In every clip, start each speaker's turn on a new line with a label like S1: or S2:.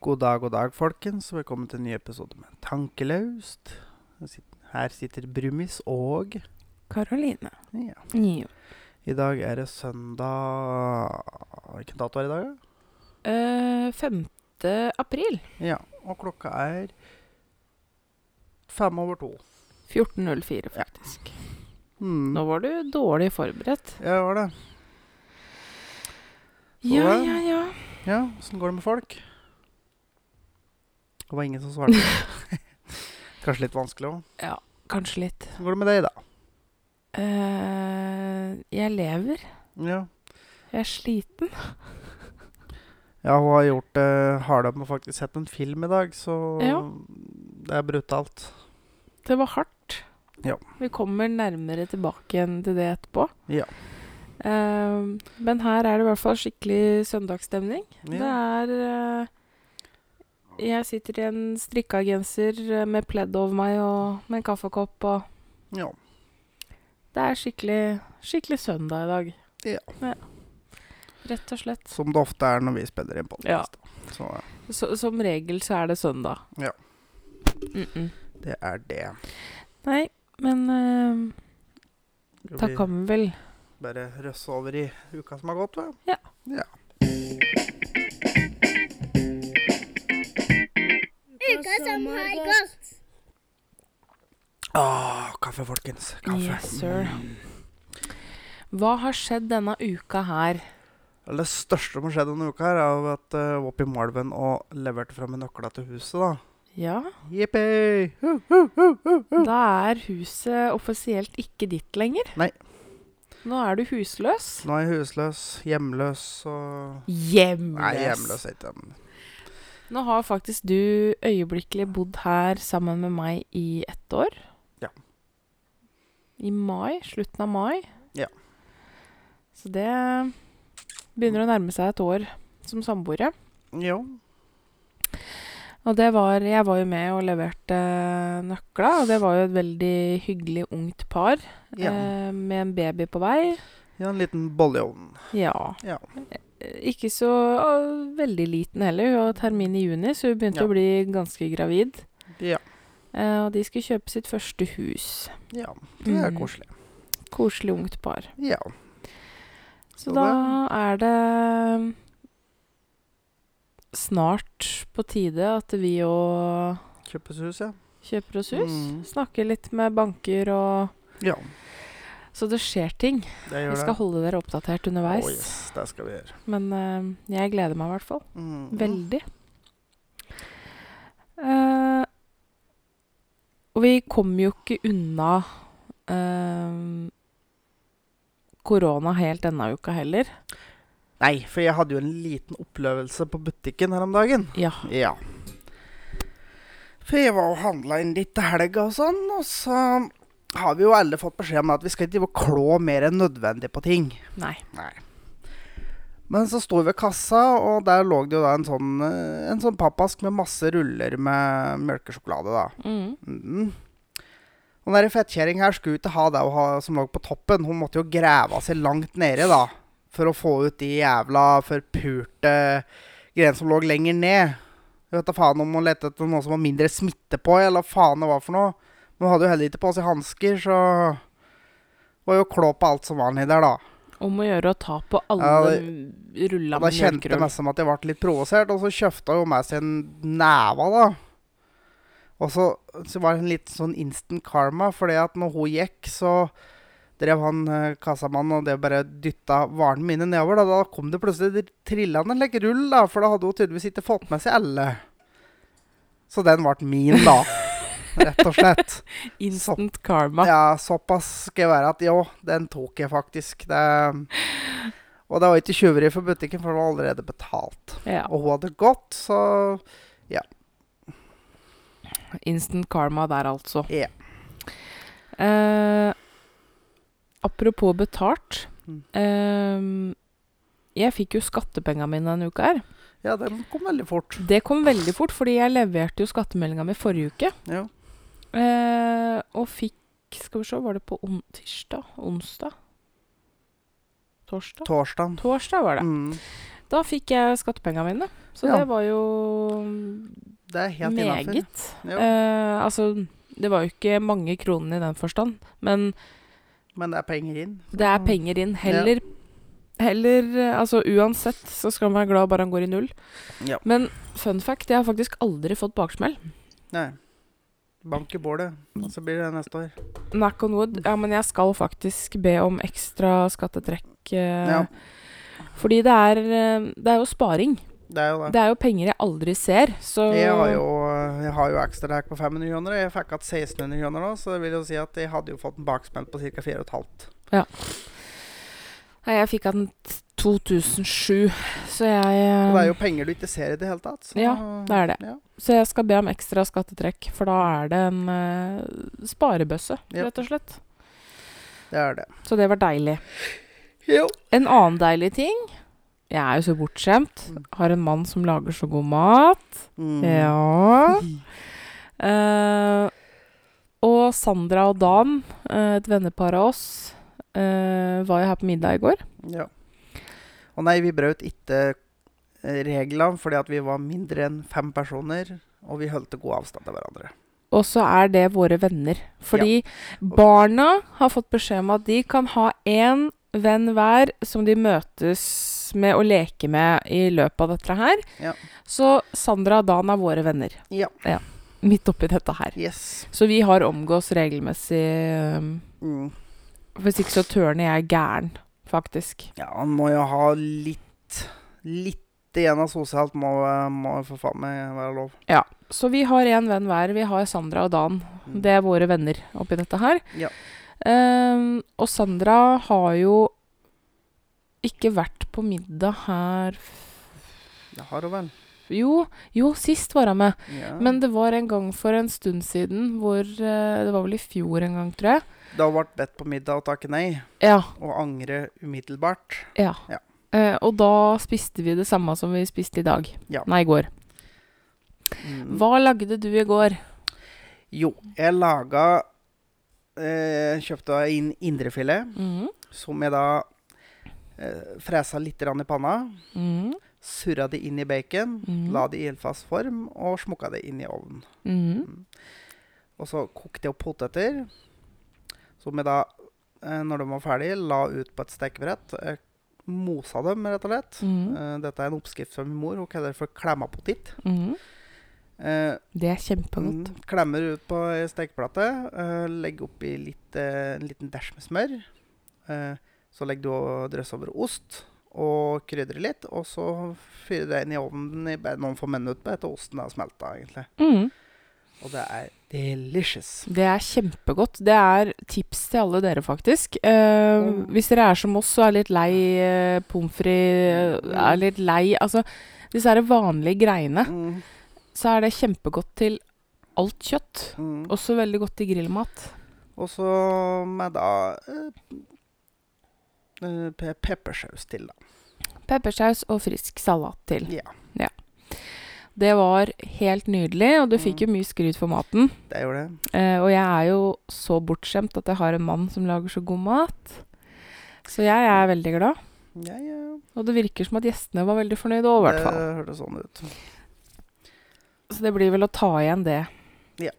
S1: God dag, god dag, folkens. Velkommen til en ny episode med Tankelaust. Jeg sit- Her sitter Brumis og
S2: Karoline.
S1: ja.
S2: Jo.
S1: I dag er det søndag Hvilken dato er det i dag? da?
S2: Eh, 5. april
S1: Ja, og klokka er fem over to.
S2: 14.04, faktisk.
S1: Hmm.
S2: Nå var du dårlig forberedt.
S1: Ja, det var det.
S2: Ja,
S1: Hva?
S2: ja, ja.
S1: Ja, åssen går det med folk? Det var ingen som svarte. Kanskje litt vanskelig òg.
S2: Kanskje litt.
S1: Åssen går det med deg, da?
S2: Eh, jeg lever.
S1: Ja.
S2: Jeg er sliten.
S1: Ja, hun har gjort det harde med å faktisk sette en film i dag, så
S2: Ja.
S1: det er brutalt.
S2: Det var hardt.
S1: Ja.
S2: Vi kommer nærmere tilbake igjen til det etterpå.
S1: Ja.
S2: Eh, men her er det i hvert fall skikkelig søndagsstemning. Det
S1: Ja.
S2: er eh, Jeg sitter i en strikka genser eh, med pledd over meg og med en kaffekopp og
S1: ja.
S2: Det er skikkelig, skikkelig søndag i dag.
S1: Ja.
S2: Rett og slett.
S1: Som det ofte er når vi spiller inn podkast. Ja. Så
S2: Så, som regel så er det søndag.
S1: Ja.
S2: Mm -mm.
S1: det er det.
S2: Nei, men eh,
S1: Skal
S2: da
S1: vi
S2: kan vi vel
S1: bare røsse over i uka som har gått, hva?
S2: Ja.
S1: ja.
S3: Uka som har gått.
S1: Åh, Ah, kaffe, folkens. Kaffe. Mm.
S2: Yes, sir. Hva har skjedd denne uka her?
S1: Eller Det største som har skjedd denne uka, her er jo at jeg var oppe i Malven og leverte fram nøkla til huset. da.
S2: Ja,
S1: Jippi! Huh. Mm.
S2: da er huset offisielt ikke ditt lenger.
S1: Nei.
S2: Nå er du husløs.
S1: Nå er jeg husløs, hjemløs og
S2: Hjemløs.
S1: Nei, hjemløs er ikke men-
S2: Nå har faktisk du øyeblikkelig bodd her sammen med meg i ett år.
S1: Ja.
S2: I mai. Slutten av mai.
S1: Ja.
S2: Så det begynner å nærme seg et år som samboere.
S1: Jo.
S2: Og det var Jeg var jo med og leverte eh, nøkla, og det var jo et veldig hyggelig ungt par
S1: Ja.
S2: eh, med en baby på vei.
S1: ja, en liten bolle i ovnen.
S2: Ja.
S1: Ja.
S2: Eh, Ikke så å, veldig liten heller. Hun har termin i juni, så hun begynte
S1: Ja.
S2: å bli ganske gravid.
S1: Ja.
S2: Eh, og de skulle kjøpe sitt første hus.
S1: ja. Det er
S2: Mm.
S1: koselig.
S2: Koselig ungt par.
S1: Ja.
S2: Så
S1: Så
S2: da er det snart på tide at vi òg
S1: Kjøpes hus, ja.
S2: kjøper oss hus.
S1: Mm.
S2: Snakker litt med banker og
S1: Ja,
S2: Så det skjer ting.
S1: det
S2: Vi
S1: gjør
S2: skal
S1: det.
S2: holde dere oppdatert
S1: Å,
S2: underveis.
S1: yes, det skal vi gjøre.
S2: Men eh, jeg gleder meg i hvert fall.
S1: Mm.
S2: Veldig. Eh, og vi kommer jo ikke unna eh, korona helt denne uka heller.
S1: Nei, for jeg hadde jo en liten opplevelse på butikken her om dagen.
S2: Ja.
S1: Ja. For jeg var og handla inn litt til helga og sånn, og så har vi jo alle fått beskjed om at vi skal ikke drive og klå mer enn nødvendig på ting.
S2: Nei.
S1: Men så sto vi ved kassa, og der lå det jo da en sånn, eh, en sånn pappask med masse ruller med melkesjokolade, da.
S2: Mm.
S1: Mm. Og den der fettkjerringa her skulle ikke ha det hun ha- som lå på toppen. Hun måtte jo grave seg langt nede, da. For å få ut de jævla forpurte greiene som lå lenger ned. Jeg vet da faen om hun lette etter noe som var mindre smitte på, eller hva faen det var for noe. Men hun hadde jo heller ikke på seg hansker, så det var jo klå på alt som var nedi der, da.
S2: Om å gjøre å ta på alle
S1: Ja, det-
S2: m- rulla
S1: Og da
S2: med
S1: kjente jeg
S2: melkerøl.
S1: nesten at jeg ble litt provosert, og så kjøpte hun jo med seg en neve, da. Og så, så var det en litt sånn instant karma, fordi at når hun gikk, så drev han eh, kassamannen og det bare dytta varene mine nedover. Da, da kom det plutselig trillende en like, rull, da, for da hadde hun tydeligvis ikke fått med seg alle. Så den ble min, da. Rett og slett.
S2: Instant karma.
S1: Ja, såpass skal jeg være at jo, den tok jeg faktisk. Det, og det var ikke tjuveri for butikken, for det var allerede betalt.
S2: Ja.
S1: Og hun hadde gått, så
S2: Instant karma der, altså.
S1: Ja.
S2: Eh, apropos betalt.
S1: Mm.
S2: Eh, jeg fikk jo skattepenga mine denne uka her.
S1: ja, den kom veldig fort.
S2: Det kom veldig fort, fordi jeg leverte jo skattemeldinga mi forrige uke.
S1: Ja.
S2: Eh, og fikk Skal vi se, var det på on tirsdag? Onsdag? Torsdag?
S1: Torsdagen.
S2: Torsdag var det.
S1: Mm.
S2: Da fikk jeg skattepengene mine, så
S1: Ja.
S2: det var jo
S1: Det er helt innafor.
S2: meget. Eh, altså, det var jo ikke mange kronene i den forstand, men
S1: Men det er penger inn. så-
S2: det er penger inn. Heller, heller eh, Altså uansett så skal man være glad bare han går i null.
S1: Ja.
S2: Men fun fact, jeg har faktisk aldri fått baksmell.
S1: Nei. Bank i bålet, og så blir det neste år.
S2: Knock on wood. Ja, men jeg skal faktisk be om ekstra skattetrekk. eh,
S1: Ja,
S2: Fordi det er, eh, det er jo sparing.
S1: det er jo det.
S2: Det er jo penger jeg aldri ser, så
S1: Jeg har jo, jeg har jo ekstra her på 500 kroner. og Jeg fikk igjen 1600 kroner nå, så det vil jo si at jeg hadde jo fått en baksmell på ca. 4,5.
S2: Nei, jeg fikk den t- 2007, så jeg eh,
S1: Og det er jo penger du ikke ser i det hele tatt. Så,
S2: Ja, det er det.
S1: Ja.
S2: Så jeg skal be om ekstra skattetrekk, for da er det en eh, sparebøsse,
S1: Ja.
S2: rett og slett.
S1: Det er det.
S2: Så det var deilig.
S1: Jo.
S2: En annen deilig ting Jeg er jo så bortskjemt. Har en mann som lager så god mat.
S1: Mm.
S2: Ja. Eh, og Sandra og Dan, eh, et vennepar av oss, eh, var jo her på middag i går.
S1: Ja. Og nei, vi brøt ikke eh, reglene fordi at vi var mindre enn fem personer, og vi holdt god avstand til hverandre.
S2: Og så er det våre venner. Fordi barna har fått beskjed om at de kan ha én venn hver som de møtes med og leker med i løpet av dette her.
S1: Ja.
S2: Så Sandra og Dan er våre venner.
S1: Ja.
S2: Midt oppi dette her.
S1: Yes.
S2: Så vi har omgås regelmessig. øhm,
S1: Mm.
S2: Hvis ikke så tørner jeg gæren, faktisk.
S1: Ja, han må jo ha litt Litt igjen av sosialt må, må for faen meg være lov.
S2: Så vi har én venn hver. Vi har Sandra og Dan.
S1: Mm.
S2: Det er våre venner oppi dette her.
S1: Ja.
S2: Ehm, og Sandra har jo ikke vært på middag her
S1: Det har hun vel.
S2: Jo, jo, sist var hun med.
S1: Ja.
S2: Men det var en gang for en stund siden hvor eh, Det var vel i fjor en gang, tror jeg.
S1: Da ble bedt på middag og takke nei,
S2: Ja.
S1: og angre umiddelbart.
S2: ja.
S1: Ja.
S2: Eh, og da spiste vi det samme som vi spiste i dag.
S1: Ja.
S2: Nei, i går.
S1: Mm.
S2: Hva lagde du i går?
S1: Jo, jeg laga eh, Kjøpte inn indrefilet,
S2: Mhm.
S1: som jeg da eh, fresa litt grann i panna.
S2: Mhm.
S1: Surra det inn i bacon,
S2: Mhm.
S1: la det i ildfast form og smukka det inn i ovnen.
S2: Mhm.
S1: Og så kokte jeg opp poteter, som jeg da, eh, når de var ferdige, la ut på et stekebrett. Jeg Mosa dem, rett og slett.
S2: Mhm.
S1: Eh, Dette er en oppskrift fra min mor. Hun kaller det for klemmapotit.
S2: Mhm.
S1: Eh,
S2: Det er kjempegodt.
S1: mm, klemmer ut på ei stekeplate. Eh, legger oppi litt, eh, en liten dæsj med smør. Eh, så legger du og drøsser over ost og krydrer litt. Og så fyrer du det inn i ovnen i bare noen få minutter etter osten er smelta, egentlig.
S2: Mhm.
S1: Og det er delicious.
S2: Det er kjempegodt. Det er tips til alle dere, faktisk. Eh,
S1: Mm.
S2: Hvis dere er som oss og er litt lei eh, pommes frites, eh, er litt lei Altså disse her vanlige greiene,
S1: Mm,
S2: så er det kjempegodt til alt kjøtt.
S1: mm.
S2: Også veldig godt til grillmat.
S1: Og så med da eh, eh, pe- peppersaus til, da.
S2: Peppersaus og frisk salat til.
S1: Ja,
S2: Det var helt nydelig, og du fikk jo
S1: Mm.
S2: mye skryt for maten.
S1: det gjorde det.
S2: Eh, og jeg er jo så bortskjemt at jeg har en mann som lager så god mat. Så jeg er veldig glad.
S1: Ja, ja.
S2: Og det virker som at gjestene var veldig fornøyde òg, i hvert fall.
S1: eh, Det hørtes sånn ut.
S2: Så det blir vel å ta igjen det.
S1: Ja.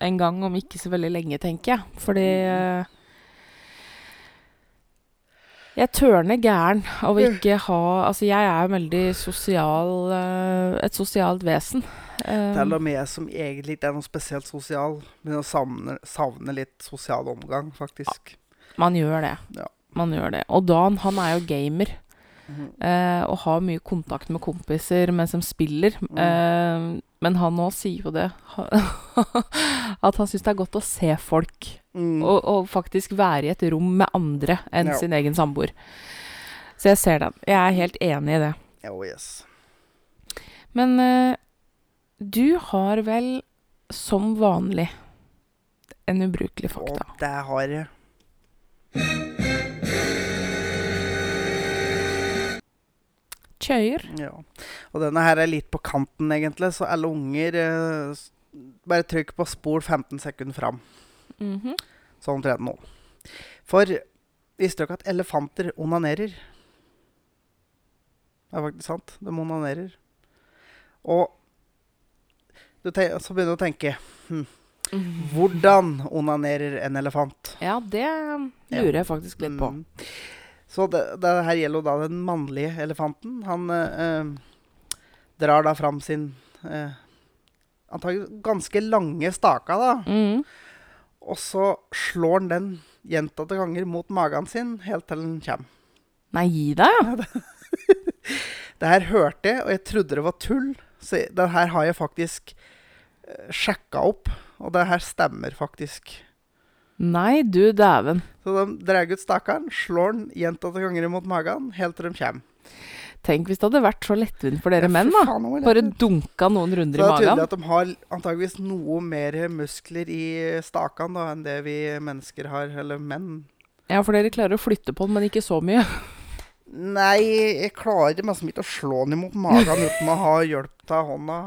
S2: En gang om ikke så veldig lenge, tenker jeg. Fordi eh, Jeg tørner gæren av å ikke ha Altså, jeg er en veldig sosial eh, Et sosialt vesen. Eh,
S1: Til og med jeg som egentlig ikke er noe spesielt sosial, men jeg savner, savner litt sosial omgang, faktisk.
S2: man gjør det.
S1: Ja.
S2: Man gjør det. Og Dan, han er jo gamer.
S1: Mhm.
S2: eh, og har mye kontakt med kompiser mens de spiller.
S1: Mm.
S2: Eh, men han nå sier jo det At han syns det er godt å se folk.
S1: Mm.
S2: Og, og faktisk være i et rom med andre enn
S1: Ja.
S2: sin egen samboer. Så jeg ser den. Jeg er helt enig i det.
S1: Oh, yes.
S2: Men eh, du har vel som vanlig en ubrukelig fakta.
S1: Og det har jeg.
S2: Kjøyer.
S1: Ja. Og denne her er litt på kanten, egentlig, så alle unger eh, s- Bare trykk på spol 15 sekunder fram,
S2: Mhm.
S1: sånn omtrent nå. For visste dere at elefanter onanerer? Det er faktisk sant. De onanerer. Og du ten så begynner du å tenke Hvordan onanerer en elefant?
S2: Mhm. Ja, det eh, lurer jeg faktisk litt på.
S1: Mm. Så det, det her gjelder jo da den mannlige elefanten. Han eh, eh, drar da fram sin eh, antagelig ganske lange staka, da.
S2: Mm.
S1: Og så slår han den gjentatte ganger mot magen sin helt til den kommer.
S2: Nei, gi deg, ja.
S1: Det her hørte jeg, og jeg trodde det var tull. Så jeg- det her har jeg faktisk eh, sjekka opp, og det her stemmer faktisk.
S2: Nei, du dæven.
S1: Så de drar ut stakaren, slår den gjentatte ganger mot magen, helt til de kommer.
S2: Tenk hvis det hadde vært så lettvint for
S1: Ja,
S2: dere
S1: fy
S2: menn, da.
S1: faen, nå må jeg
S2: Bare
S1: lette.
S2: dunka noen
S1: Så
S2: runder
S1: det
S2: i
S1: er tydelig
S2: magen.
S1: at de har antageligvis noe mer muskler i stakan da, enn det vi mennesker har, eller menn.
S2: Ja, for dere klarer å flytte på den, men ikke så mye.
S1: Nei, jeg klarer nesten ikke å slå den imot magen uten å ha hjelp av hånda.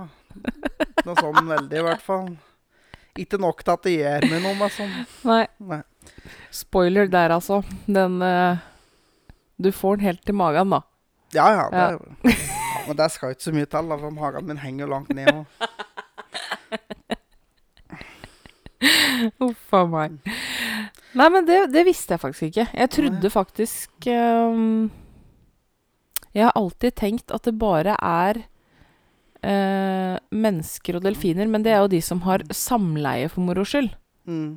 S1: Noe sånn veldig, i hvert fall. Ikke nok til at det gjør meg noe, men sånn.
S2: Nei,
S1: Nei.
S2: spoiler der, altså. Den eh, Du får den helt til magen, da.
S1: Ja, ja, det, ja. Men det skal ikke så mye til, da, for magen min henger jo langt ned. Og.
S2: Uff a meg. Nei, men det, det visste jeg faktisk ikke. Jeg trodde faktisk ehm, Jeg har alltid tenkt at det bare er eh, mennesker og delfiner, men det er jo de som har samleie for moro skyld.
S1: Mm.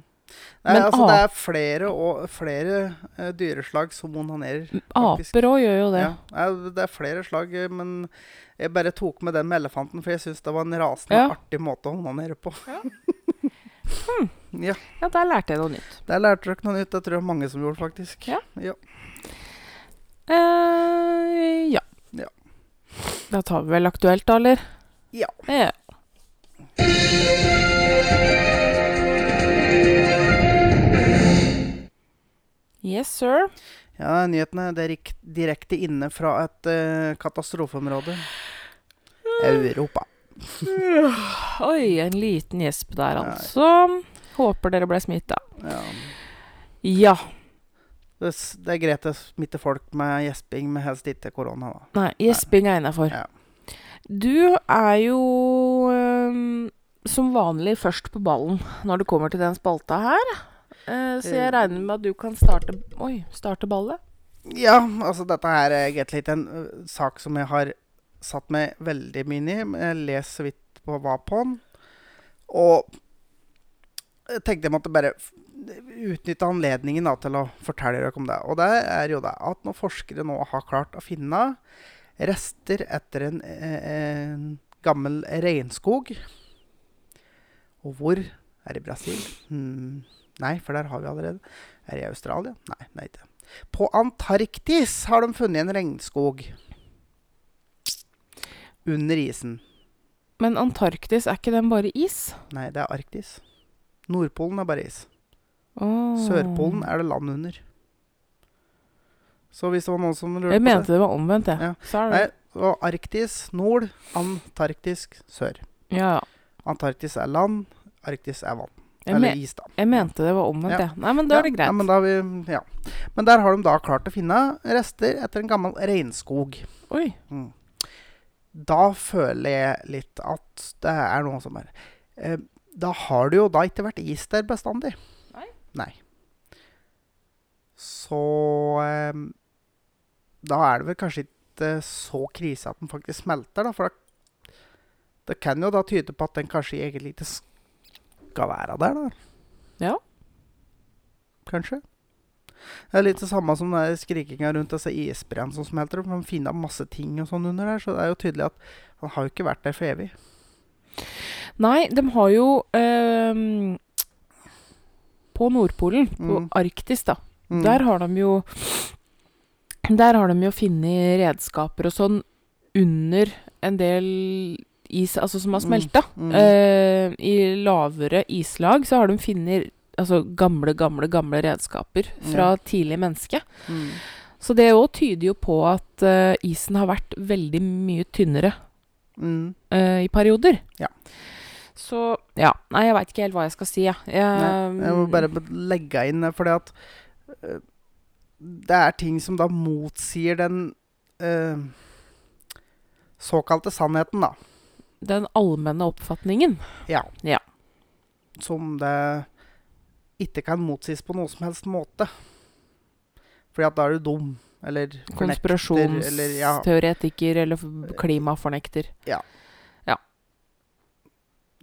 S1: Nei,
S2: Men
S1: altså, det
S2: a-
S1: er flere, og, flere eh, dyreslag som onanerer. Faktisk.
S2: Aper òg gjør jo det.
S1: Ja. Nei, det er flere slag, eh, men jeg bare tok med den med elefanten, for jeg syns det var en rasende
S2: Ja. Hmm.
S1: artig måte å onanere på. ja.
S2: Ja. der lærte jeg noe nytt.
S1: Der lærte dere noe nytt. Det tror jeg mange som gjorde, faktisk.
S2: Ja. Eh, ja.
S1: Ja.
S2: Da tar vi vel aktuelt, da, eller?
S1: Ja.
S2: Ja. Yes, sir.
S1: Ja, Nyhetene det er rik- direkte inne fra et eh, katastrofeområde.
S2: Hmm.
S1: Europa.
S2: Oi, en liten gjesp der,
S1: Nei.
S2: altså. Håper dere ble smitta.
S1: Ja.
S2: Ja.
S1: Det, s- det er greit å smitte folk med gjesping, men helst ikke korona. da.
S2: Nei, gjesping er innafor.
S1: Ja.
S2: Du er jo øhm, som vanlig først på ballen når det kommer til den spalta her. Eh, så jeg
S1: Eh.
S2: regner med at du kan starte Oi, starte ballet?
S1: Ja, altså dette her er egentlig ikke en ø, sak som jeg har satt meg veldig mye inn i. men Jeg leser så vidt på hva på den. Og jeg tenkte jeg måtte bare f- utnytte anledningen da, til å fortelle dere om det. Og det er jo det at når forskere nå har klart å finne rester etter en, eh, en gammel regnskog Og hvor? Er det i Brasil? Hmm. Nei, for der har vi allerede. Er det i Australia? Nei, nei ikke. På Antarktis har de funnet en regnskog. Under isen.
S2: Men Antarktis, er ikke den bare is?
S1: Nei, det er Arktis. Nordpolen er bare is.
S2: Åh.
S1: Sørpolen er det land under. Så hvis det var noen som lurte
S2: Jeg
S1: på det
S2: mente det var omvendt, jeg.
S1: Ja.
S2: Sorry.
S1: Nei, det var Arktis nord, Antarktisk sør.
S2: Ja, ja.
S1: Antarktis er land, Arktis er vann.
S2: Jeg,
S1: Eller
S2: me
S1: is, da.
S2: jeg mente det var omvendt,
S1: Ja.
S2: jeg. Nei, men da er det
S1: Ja,
S2: greit.
S1: Ja, men, da har vi, ja. men der har de da klart å finne rester etter en gammel regnskog.
S2: Oi.
S1: Mm. Da føler jeg litt at det er noe som er eh, Da har det jo da ikke vært is der bestandig.
S2: Nei.
S1: Så eh, Da er det vel kanskje ikke så krise at den faktisk smelter, da. For det, det kan jo da tyde på at den kanskje egentlig ikke skal være der, da.
S2: Ja.
S1: Kanskje. Det er litt det samme som den der skrikinga rundt disse isbreene som smelter. opp. Man finner masse ting og sånn under der, så det er jo tydelig at han har jo ikke vært der for evig.
S2: Nei, de har jo øhm, På Nordpolen, på
S1: Mm.
S2: Arktis, da.
S1: Mm.
S2: Der har de jo Der har de jo funnet redskaper og sånn under en del is, altså som har
S1: Mm,
S2: smelta.
S1: mm.
S2: Eh, I lavere islag så har de funnet altså gamle, gamle, gamle redskaper fra tidlig menneske.
S1: Mm.
S2: Så det òg tyder jo på at eh, isen har vært veldig mye tynnere
S1: Mm.
S2: eh, i perioder.
S1: Ja.
S2: Så Ja. Nei, jeg veit ikke helt hva jeg skal si, jeg. Eh, Jeg-
S1: Nei, jeg må
S2: um,
S1: bare be- legge inn det, fordi at eh, det er ting som da motsier den eh, såkalte sannheten, da.
S2: Den allmenne oppfatningen.
S1: Ja.
S2: Ja.
S1: Som det ikke kan motsies på noen som helst måte. Fordi at da er du dum, eller fornekter, eller ja,
S2: Konspirasjonsteoretiker eller f- klimafornekter.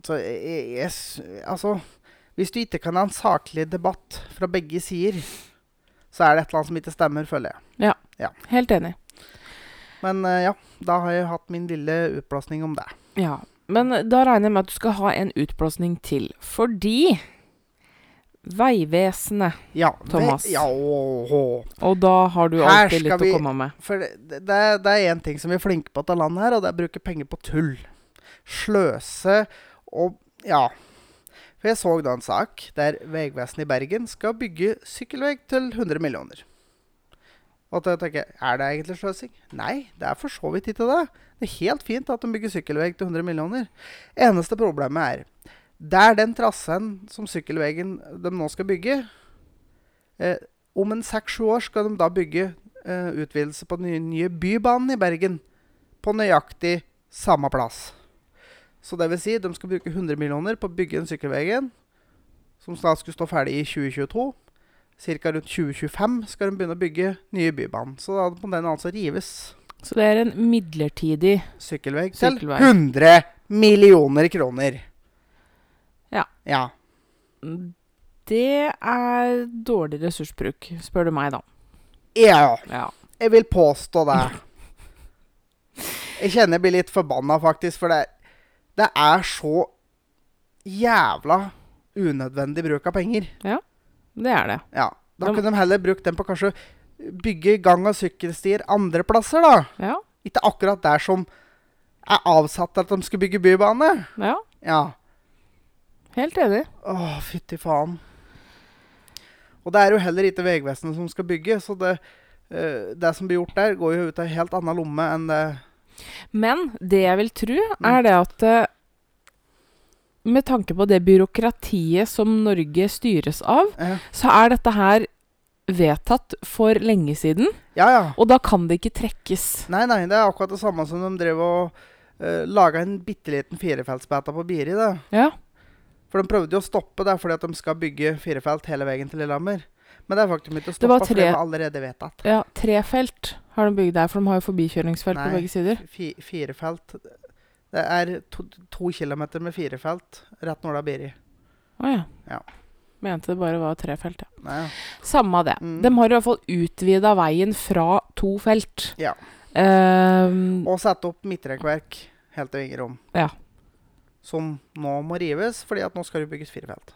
S1: Så jeg, jeg- jeg s- Altså, hvis du ikke kan ha en saklig debatt fra begge sider, så er det et eller annet som ikke stemmer, føler jeg.
S2: Helt enig.
S1: Men eh, ja, da har jeg hatt min lille utblåsning om det.
S2: Ja, men da regner jeg med at du skal ha en utblåsning til. Fordi Vegvesenet,
S1: Ja,
S2: Thomas.
S1: Det, ja, åh, åh.
S2: og da har du
S1: Her
S2: alltid
S1: skal
S2: litt
S1: vi-
S2: å komme med.
S1: For det, det, det er én ting som vi er flinke på til land her, og det er å bruke penger på tull. Sløse og Ja. For jeg så da en sak der Vegvesenet i Bergen skal bygge sykkelvei til 100 millioner. Og da tenker jeg, er det egentlig sløsing? Nei, det er for så vidt ikke det. Det er helt fint at de bygger sykkelvei til 100 millioner. Eneste problemet er der den trassen som sykkelveien de nå skal bygge eh, Om en seks-sju år skal de da bygge eh, utvidelse på den nye, nye bybanen i Bergen på nøyaktig samme plass. Så det vil si, de skal bruke 100 millioner på å bygge den sykkelveien, som snart skulle stå ferdig i 2022. Cirka rundt 2025 skal de begynne å bygge nye bybanen. Så da må den altså rives
S2: Så det er en midlertidig
S1: sykkelvei til
S2: Sykkelvei.
S1: 100 millioner kroner.
S2: Ja.
S1: Ja.
S2: Det er dårlig ressursbruk, spør du meg, da.
S1: Ja,
S2: Ja.
S1: jeg vil påstå det. Jeg kjenner jeg blir litt forbanna, faktisk, for det, det er så jævla unødvendig bruk av penger.
S2: Det er det.
S1: Ja. Da
S2: Da-
S1: kunne de heller brukt den på kanskje bygge gang- og sykkelstier andre plasser, da.
S2: Ja.
S1: Ikke akkurat der som er avsatt til at de skulle bygge bybane.
S2: ja.
S1: Ja.
S2: Helt enig.
S1: Åh, fytti faen. Og det er jo heller ikke Vegvesenet som skal bygge, så det, eh, det som blir gjort der, går jo ut av en helt annen lomme enn det
S2: Men det jeg vil tro,
S1: Mm.
S2: er det at eh, med tanke på det byråkratiet som Norge styres av,
S1: eh,
S2: så er dette her vedtatt for lenge siden.
S1: Ja, ja.
S2: Og da kan det ikke trekkes.
S1: Nei, nei, det er akkurat det samme som de drev og uh, laga en bitte liten firefeltsbeta på Biri. da.
S2: Ja.
S1: For de prøvde jo å stoppe det fordi at de skal bygge firefelt hele veien til Lillehammer. Men det er faktisk ikke å
S2: Det var
S1: stoppe, for det
S2: tre-
S1: var allerede vedtatt.
S2: ja trefelt har de bygd der, for de har jo forbikjøringsfelt
S1: Nei.
S2: på begge sider.
S1: Fi, firefelt Det er to, to kilometer med firefelt rett nord av Biri.
S2: Å ja.
S1: Ja.
S2: Mente det bare var trefelt, ja.
S1: Nei, ja.
S2: Samme det.
S1: Mm.
S2: De har i hvert fall utvida veien fra to felt.
S1: Ja.
S2: Ehm,
S1: Og sette opp midtrekkverk helt til Vingerom.
S2: Ja.
S1: Som nå må rives, fordi at nå skal det bygges fire felt.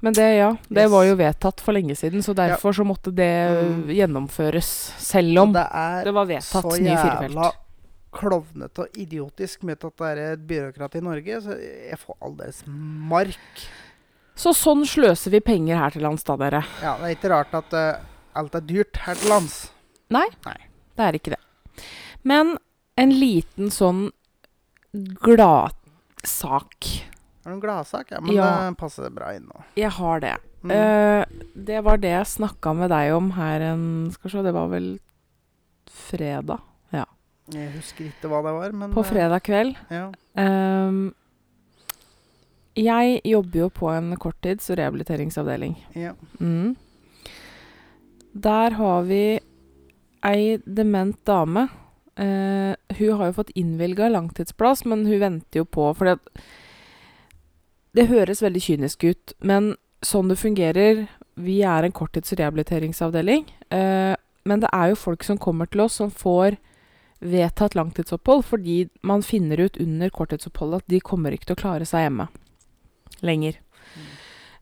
S2: men det, ja. Det
S1: Yes.
S2: var jo vedtatt for lenge siden, så derfor så måtte det øh,
S1: Mm.
S2: gjennomføres. Selv
S1: Og
S2: om det,
S1: det er
S2: var
S1: så
S2: vedtatt nye
S1: jævla
S2: firefelt.
S1: klovnete og idiotisk med at det er et byråkrati i Norge, så jeg får all deres mark.
S2: Så sånn sløser vi penger her til lands, da, dere.
S1: Ja, det er ikke rart at eh, alt er dyrt her til lands.
S2: Det er ikke det. Men en liten sånn gladsak.
S1: Er det en gladsak? Ja, men
S2: Ja.
S1: det passer bra inn nå.
S2: Jeg har det.
S1: Mm.
S2: Eh, det var det jeg snakka med deg om her en Skal vi se, det var vel fredag?
S1: jeg husker ikke hva det var, men
S2: På
S1: eh,
S2: fredag kveld.
S1: Ja.
S2: Ehm, jeg jobber jo på en korttids- og rehabiliteringsavdeling.
S1: ja.
S2: Mm. Der har vi ei dement dame. Eh, hun har jo fått innvilga langtidsplass, men hun venter jo på For det, det høres veldig kynisk ut, men sånn det fungerer Vi er en korttids- og rehabiliteringsavdeling. Eh, men det er jo folk som kommer til oss som får vedtatt langtidsopphold fordi man finner ut under korttidsoppholdet at de kommer ikke til å klare seg hjemme lenger.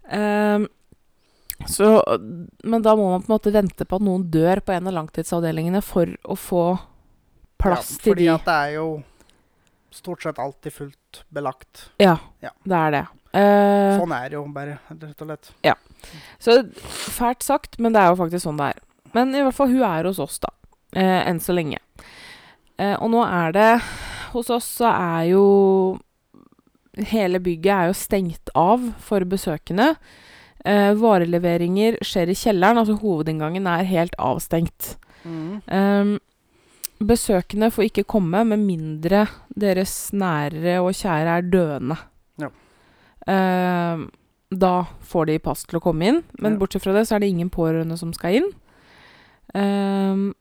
S1: Mm.
S2: Eh, så, men da må man på en måte vente på at noen dør på en av langtidsavdelingene for å få
S1: ja,
S2: plass til
S1: fordi
S2: de.
S1: at det er jo stort sett alltid fullt belagt.
S2: Ja,
S1: Ja.
S2: det er det. Eh,
S1: Sånn er det jo bare, rett og slett.
S2: Så fælt sagt, men det er jo faktisk sånn det er. Men i hvert fall, hun er hos oss, da. Eh, enn så lenge. Eh, og nå er det Hos oss så er jo Hele bygget er jo stengt av for besøkende. Eh, vareleveringer skjer i kjelleren, altså hovedinngangen er helt avstengt.
S1: Mm.
S2: Ehm, besøkende får ikke komme med mindre deres nære og kjære er døende.
S1: Ja.
S2: Eh, da får de pass til å komme inn, men
S1: Ja.
S2: bortsett fra det så er det ingen pårørende som skal inn. Eh,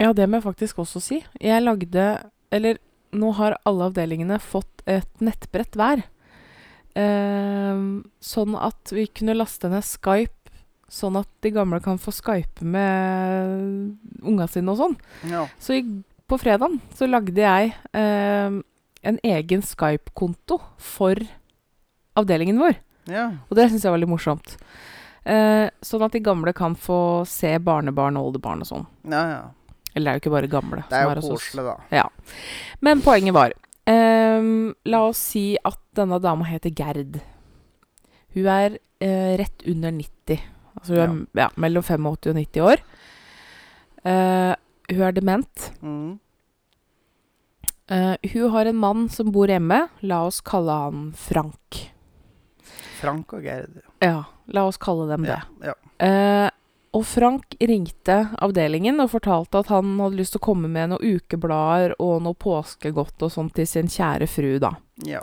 S2: ja, det må jeg faktisk også si. Jeg lagde, eller nå har alle avdelingene fått et nettbrett hver. Eh, sånn at vi kunne laste ned Skype, sånn at de gamle kan få Skype med unga sine og sånn.
S1: Ja.
S2: Så i, på fredagen så lagde jeg eh, en egen Skype-konto for avdelingen vår.
S1: ja.
S2: Og det syns jeg var litt morsomt. Eh, sånn at de gamle kan få se barnebarn og oldebarn og sånn.
S1: ja, ja.
S2: Eller det er jo ikke bare gamle.
S1: Det er
S2: som
S1: jo
S2: hos oss.
S1: koselig, da.
S2: Men poenget var ehm, La oss si at denne dama heter Gerd. Hun er eh, rett under 90. Altså hun er ja. mellom 85 og 90 år. Eh, hun er dement.
S1: Mm.
S2: Eh, hun har en mann som bor hjemme. La oss kalle han Frank.
S1: Frank og Gerd.
S2: Ja, la oss kalle dem det.
S1: Ja. ja.
S2: Eh, og Frank ringte avdelingen og fortalte at han hadde lyst til å komme med noen ukeblader og noe påskegodt og sånt til sin kjære fru, da.
S1: ja.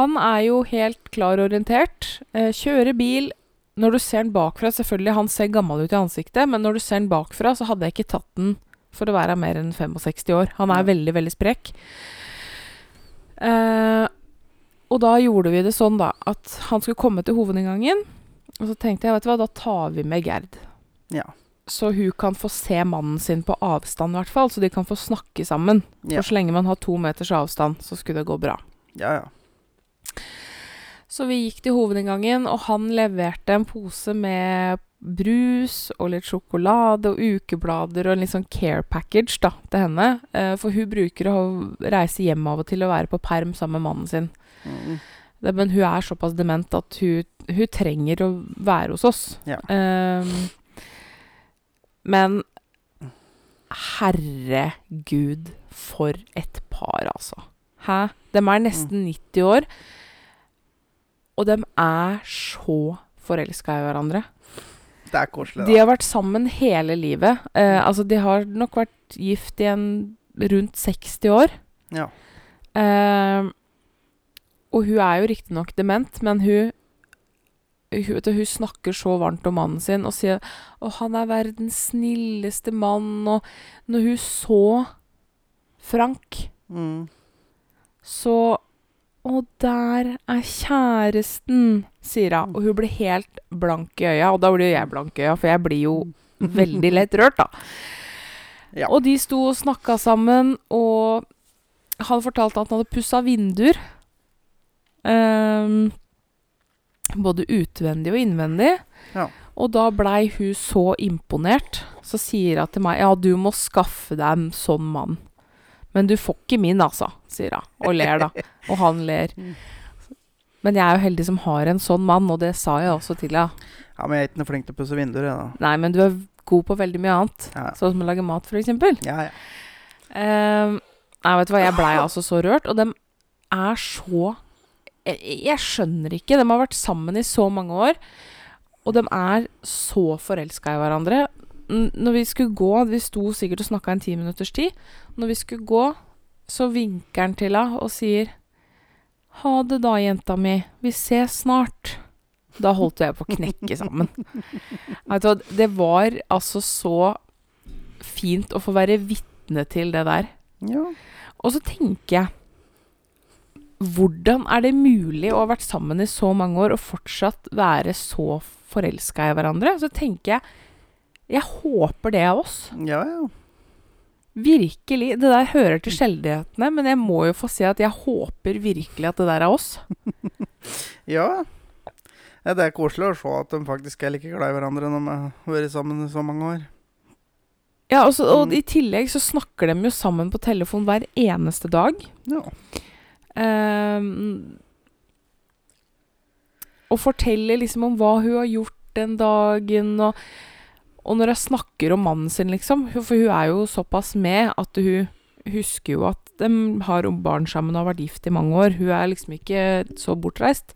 S2: Han er jo helt klar orientert. Eh, kjører bil. Når du ser den bakfra, selvfølgelig, han ser gammel ut i ansiktet, men når du ser den bakfra, så hadde jeg ikke tatt den for å være mer enn 65 år. Han er
S1: Ja.
S2: veldig, veldig sprek. Eh, og da gjorde vi det sånn, da, at han skulle komme til hovedinngangen, og så tenkte jeg, vet du hva, da tar vi med Gerd.
S1: Ja.
S2: Så hun kan få se mannen sin på avstand, i hvert fall, så de kan få snakke sammen.
S1: Ja.
S2: For så lenge man har to meters avstand, så skulle det gå bra.
S1: Ja, ja.
S2: Så vi gikk til hovedinngangen, og han leverte en pose med brus og litt sjokolade og ukeblader og en litt sånn care package da, til henne. Eh, For hun bruker å reise hjem av og til og være på perm sammen med mannen sin.
S1: Mm.
S2: Det, men hun er såpass dement at hun, hun trenger å være hos oss.
S1: Ja.
S2: Ehm, men herregud, for et par, altså. Hæ? De er nesten 90 år, og de er så forelska i hverandre.
S1: Det er koselig, da.
S2: De
S1: Mm.
S2: har vært sammen hele livet. Eh, altså, de har nok vært gift i en rundt 60 år.
S1: Ja.
S2: Eh, og hun er jo riktignok dement, men hun hun, vet du, hun snakker så varmt om mannen sin og sier å, han er verdens snilleste mann. Og når hun så Frank,
S1: Mm.
S2: så Å, der er kjæresten, sier hun. Og hun blir helt blank i øya, og da blir jo jeg blank i øya, for jeg blir jo veldig lett rørt, da.
S1: Ja.
S2: Og de sto og snakka sammen, og han fortalte at han hadde pussa vinduer. ehm, både utvendig og innvendig.
S1: Ja.
S2: Og da blei hun så imponert, så sier hun til meg Ja, du må skaffe deg en sånn mann. Men du får ikke min, altså, sier hun. Og ler, da. Og han ler.
S1: Mm.
S2: Men jeg er jo heldig som har en sånn mann, og det sa jeg også til henne.
S1: ja, men jeg er ikke noe flink til å pusse vinduer, jeg,
S2: Nei, men du er god på veldig mye annet.
S1: da.
S2: Sånn som å lage mat, for eksempel.
S1: Ja, ja. ja.
S2: Ehm, nei, vet du hva, jeg blei altså så rørt, og de er så jeg, jeg skjønner ikke. De har vært sammen i så mange år, og de er så forelska i hverandre. N- Når vi skulle gå, vi sto sikkert og snakka en ti minutters tid, når vi skulle gå, så vinker han til henne og sier Ha det da, jenta mi. Vi ses snart. Da holdt jeg på å knekke sammen. Vet du hva, det var altså så fint å få være vitne vitne til det der.
S1: ja.
S2: Og så tenker jeg Hvordan er det mulig å ha vært sammen i så mange år og fortsatt være så forelska i hverandre? Så tenker jeg Jeg håper det av oss.
S1: Ja, ja.
S2: Virkelig. Det der hører til sjeldenhetene, men jeg må jo få si at jeg håper virkelig at det der er oss.
S1: Ja. ja. Det er koselig å se at de faktisk er like glad i hverandre når de har vært sammen i så mange år.
S2: Ja, og, så, og
S1: Mm.
S2: i tillegg så snakker de jo sammen på telefon hver eneste dag.
S1: Ja.
S2: Ehm, og forteller liksom om hva hun har gjort den dagen, og, og når jeg snakker om mannen sin, liksom. hun- For hun er jo såpass med at hun husker jo at de har barn sammen og har vært gift i mange år. Hun er liksom ikke så bortreist.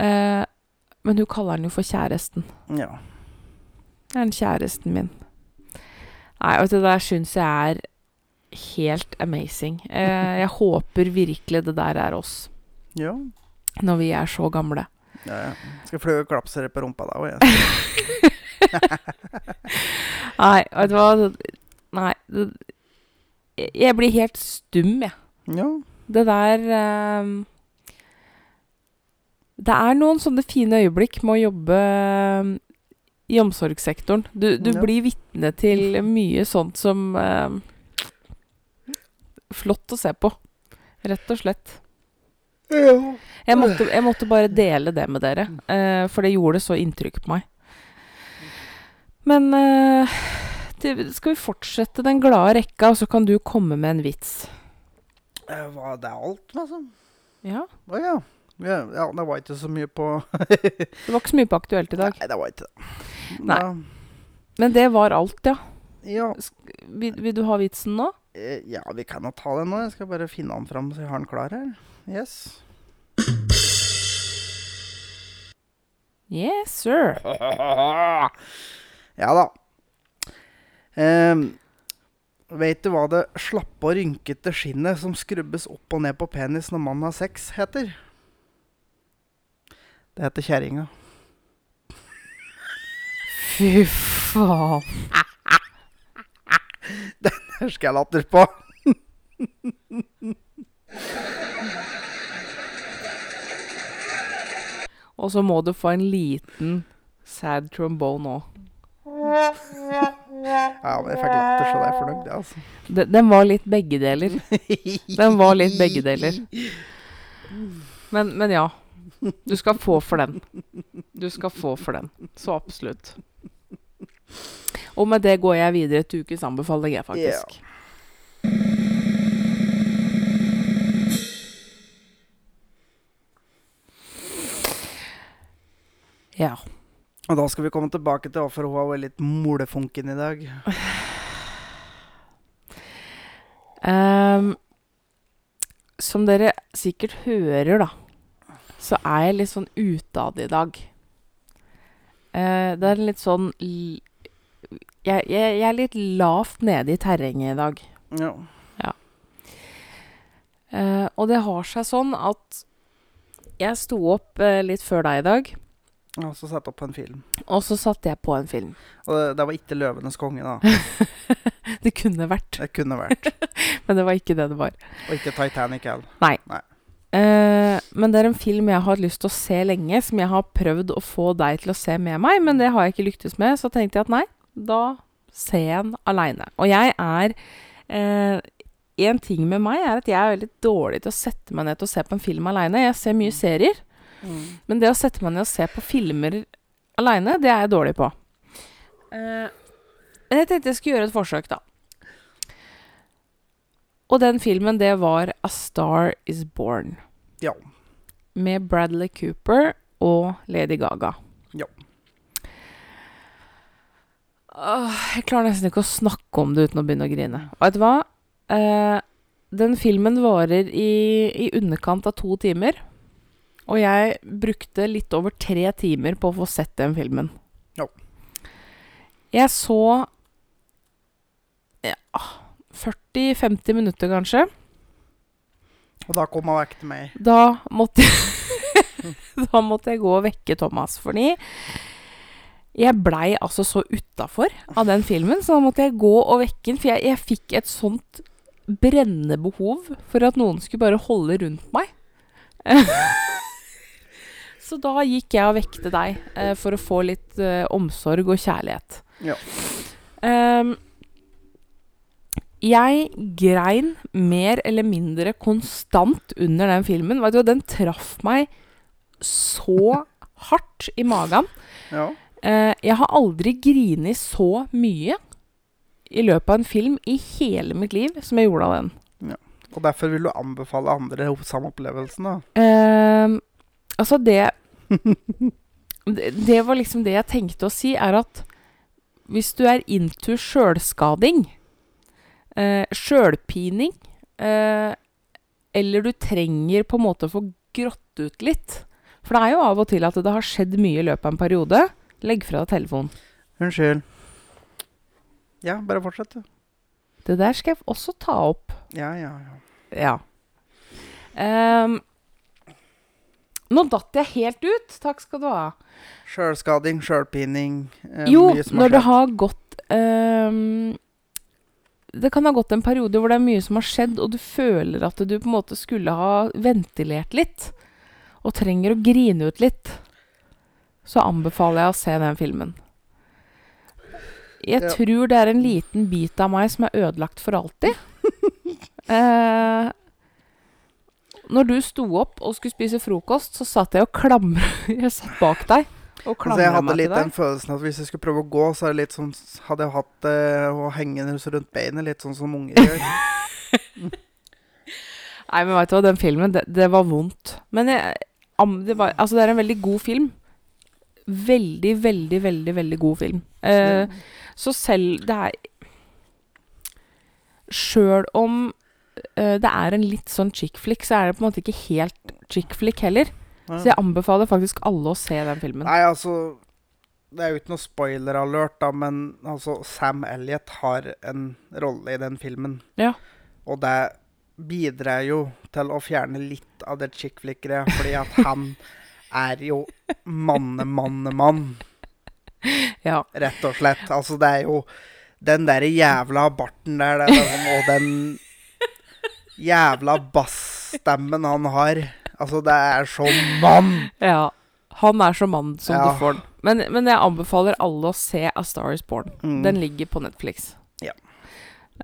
S2: Eh, men hun kaller han jo for kjæresten.
S1: ja.
S2: Det er den kjæresten min. Nei, vet du, det der syns jeg er helt amazing. Eh, jeg håper virkelig det der er oss
S1: Ja.
S2: når vi er så gamle.
S1: ja, ja. Skal fløye klapsere på rumpa da òg, jeg.
S2: Nei, vet du hva Nei. Det, jeg blir helt stum, jeg.
S1: Ja.
S2: Det der ehm, Det er noen sånne fine øyeblikk med å jobbe ehm, i omsorgssektoren. Du, du
S1: Ja.
S2: blir vitne til mye sånt som ehm, Flott å se på, rett og slett.
S1: ja.
S2: Jeg måtte, jeg måtte bare dele det med dere, eh, for det gjorde så inntrykk på meg. Men eh, det, skal vi fortsette den glade rekka, og så kan du komme med en vits?
S1: Eh, Hva, det er alt, liksom?
S2: Ja.
S1: Å ja. ja. Ja, det var ikke så mye på
S2: Det var ikke så mye på aktuelt i dag.
S1: Nei, det var ikke det.
S2: Nei.
S1: Da-
S2: Men det var alt, ja.
S1: Ja.
S2: Vil, vil du ha vitsen nå?
S1: Eh, ja, vi kan jo ta den nå. Jeg skal bare finne den fram så jeg har den klar her. Yes.
S2: Yes, sir.
S1: Ja da. Um, Veit du hva det slappe og rynkete skinnet som skrubbes opp og ned på penis når mannen har sex, heter? Det heter kjerringa.
S2: Fy faen.
S1: Der skal jeg latter på.
S2: Og så må du få en liten sad trombone òg.
S1: Ja, men jeg fikk latter, så det er fornøyd, det, altså.
S2: Den, den var litt begge deler. Den var litt begge deler. Men, men ja. Du skal få for den. Du skal få for den. Så absolutt. Og med det går jeg videre til ukens anbefaling, jeg, faktisk. Ja.
S1: Og da skal vi komme tilbake til hvorfor hun var litt molefunken i dag.
S2: Ehm, som dere sikkert hører, da, så er jeg litt sånn utad i dag. Eh, det er litt sånn l- jeg, jeg, jeg er litt lavt nede i terrenget i dag.
S1: Ja.
S2: Eh, og det har seg sånn at jeg sto opp eh, litt før deg i dag,
S1: Og så satte jeg opp en film.
S2: og så satte jeg på en film.
S1: Og det, det var ikke 'Løvenes konge', da.
S2: Det kunne vært,
S1: Det kunne vært.
S2: men det var ikke det det var.
S1: Og ikke 'Titanic' heller.
S2: Eh, men det er en film jeg har hatt lyst til å se lenge, som jeg har prøvd å få deg til å se med meg, men det har jeg ikke lyktes med. Så tenkte jeg at nei, da ser jeg den aleine. Og jeg er eh, En ting med meg er at jeg er veldig dårlig til å sette meg ned til å se på en film aleine. Jeg ser mye serier,
S1: Mm.
S2: men det å sette meg ned og se på filmer aleine, det er jeg dårlig på. Eh, men jeg tenkte jeg skulle gjøre et forsøk, da. Og den filmen, det var A Star Is Born
S1: Ja.
S2: med Bradley Cooper og Lady Gaga.
S1: Ja.
S2: Åh, jeg klarer nesten ikke å snakke om det uten å begynne å grine. Vet du hva? Eh, den filmen varer i, i underkant av to timer. Og jeg brukte litt over tre timer på å få sett den filmen.
S1: Ja.
S2: Jeg så ja, 40-50 minutter, kanskje.
S1: Og da kom hun vekk til meg.
S2: Da måtte jeg Da måtte jeg gå og vekke Thomas, fordi jeg blei altså så utafor av den filmen, så da måtte jeg gå og vekke den. For jeg, jeg fikk et sånt brennende behov for at noen skulle bare holde rundt meg. så da gikk jeg og vekte deg eh, for å få litt eh, omsorg og kjærlighet.
S1: Ja.
S2: Ehm, jeg grein mer eller mindre konstant under den filmen. Vet du, hva, den traff meg så hardt i magen.
S1: Ja.
S2: Eh, jeg har aldri grinet så mye i løpet av en film i hele mitt liv som jeg gjorde av den.
S1: Og derfor vil du anbefale andre ho- samme opplevelsen, da.
S2: Ehm, altså, det det- Det var liksom det jeg tenkte å si, er at hvis du er into sjølskading, eh, sjølpining, eh, eller du trenger på en måte å få grått ut litt For det er jo av og til at det har skjedd mye i løpet av en periode. Legg fra deg telefonen.
S1: Unnskyld. Ja, bare fortsett, du.
S2: Det der skal jeg også ta opp.
S1: Ja, ja, ja.
S2: Ja. Ehm, nå datt jeg helt ut. Takk skal du ha.
S1: Sjølskading, sjølpining eh,
S2: jo,
S1: mye som har
S2: når det
S1: skjedd.
S2: har gått ehm, Det kan ha gått en periode hvor det er mye som har skjedd, og du føler at du på en måte skulle ha ventilert litt, og trenger å grine ut litt, så anbefaler jeg å se den filmen. Jeg
S1: Ja.
S2: tror det er en liten bit av meg som er ødelagt for alltid. eh, når du sto opp og skulle spise frokost, så satt jeg og klamra Jeg satt bak deg og
S1: Altså, jeg
S2: klamra
S1: hadde
S2: meg til
S1: litt
S2: deg.
S1: den følelsen at hvis jeg skulle prøve å gå, så er det litt sånn, hadde jeg hatt eh, å henge den rundt beinet, litt sånn som unger gjør.
S2: Nei, men vet du hva, den filmen, det, det var vondt. Men jeg, am, det, var, altså, det er en veldig god film. Veldig, veldig, veldig, veldig god film. Eh, så selv det er Sjøl om eh, det er en litt sånn chick flick, så er det på en måte ikke helt chick flick heller.
S1: Ja.
S2: Så jeg anbefaler faktisk alle å se den filmen.
S1: Nei, altså Det er jo ikke noe spoiler-alert, da, men altså, Sam Elliot har en rolle i den filmen.
S2: Ja.
S1: Og det bidrar jo til å fjerne litt av det chick flick-greia, fordi at han er jo manne-manne-mann,
S2: Ja.
S1: rett og slett. Altså, det er jo den derre jævla barten der, det er sånn, og den jævla bassstemmen han har. Altså, det er så mann!
S2: ja. Han er så mann som
S1: Ja.
S2: du får den. Men, men jeg anbefaler alle å se A Star Is Born.
S1: Mm.
S2: Den ligger på Netflix.
S1: Ja.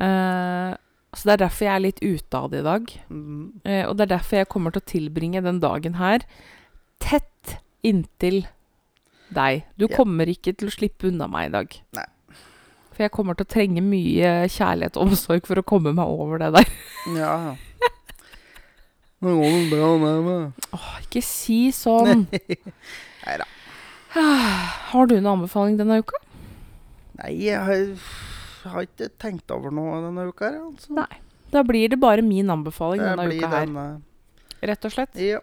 S2: Eh, så det er derfor jeg er litt ute av det i dag.
S1: Mm.
S2: Eh, og det er derfor jeg kommer til å tilbringe den dagen her tett inntil deg. Du
S1: Ja.
S2: kommer ikke til å slippe unna meg i dag.
S1: Nei.
S2: For jeg kommer til å trenge mye kjærlighet og omsorg for å komme meg over det der.
S1: Ja. Nå går det bra ned med
S2: Åh, ikke si sånn. Ah,
S1: Neida.
S2: Har du en anbefaling denne uka?
S1: Nei, jeg har, jeg har ikke tenkt over noe denne uka her, altså.
S2: Nei. Da blir det bare min anbefaling
S1: Det
S2: denne
S1: blir
S2: uka her,
S1: denne-
S2: rett og slett.
S1: Ja.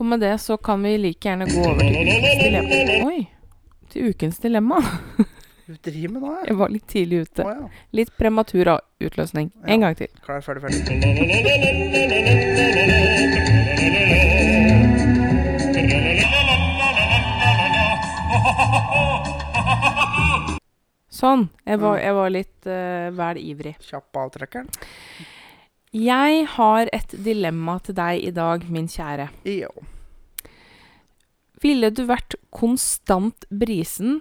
S2: Og med det så kan vi like gjerne gå over til ukens dilemma. Oi. Til ukens dilemma.
S1: Du driver med nå, jeg.
S2: Jeg var litt tidlig ute.
S1: Å ja.
S2: Litt prematur av utløsning. En gang til.
S1: Klar, ferdig, ferdig.
S2: Sånn. Jeg var, jeg var litt eh, vel ivrig.
S1: Kjapp avtrekkeren.
S2: Jeg har et dilemma til deg i dag, min kjære.
S1: Ja.
S2: Ville du vært konstant brisen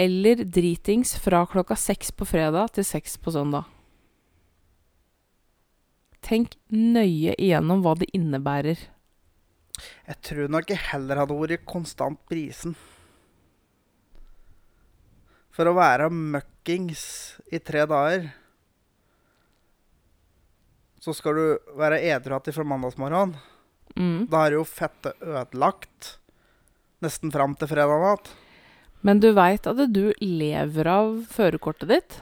S2: eller dritings fra klokka seks på fredag til seks på søndag? Tenk nøye igjennom hva det innebærer.
S1: Jeg tror nok jeg heller hadde vært konstant brisen. For å være møkkings i tre dager, så skal du være edru igjen fra mandagsmorgenen.
S2: Mm.
S1: Da er jo fettet ødelagt nesten fram til fredag natt.
S2: Men du veit at du lever av førerkortet ditt?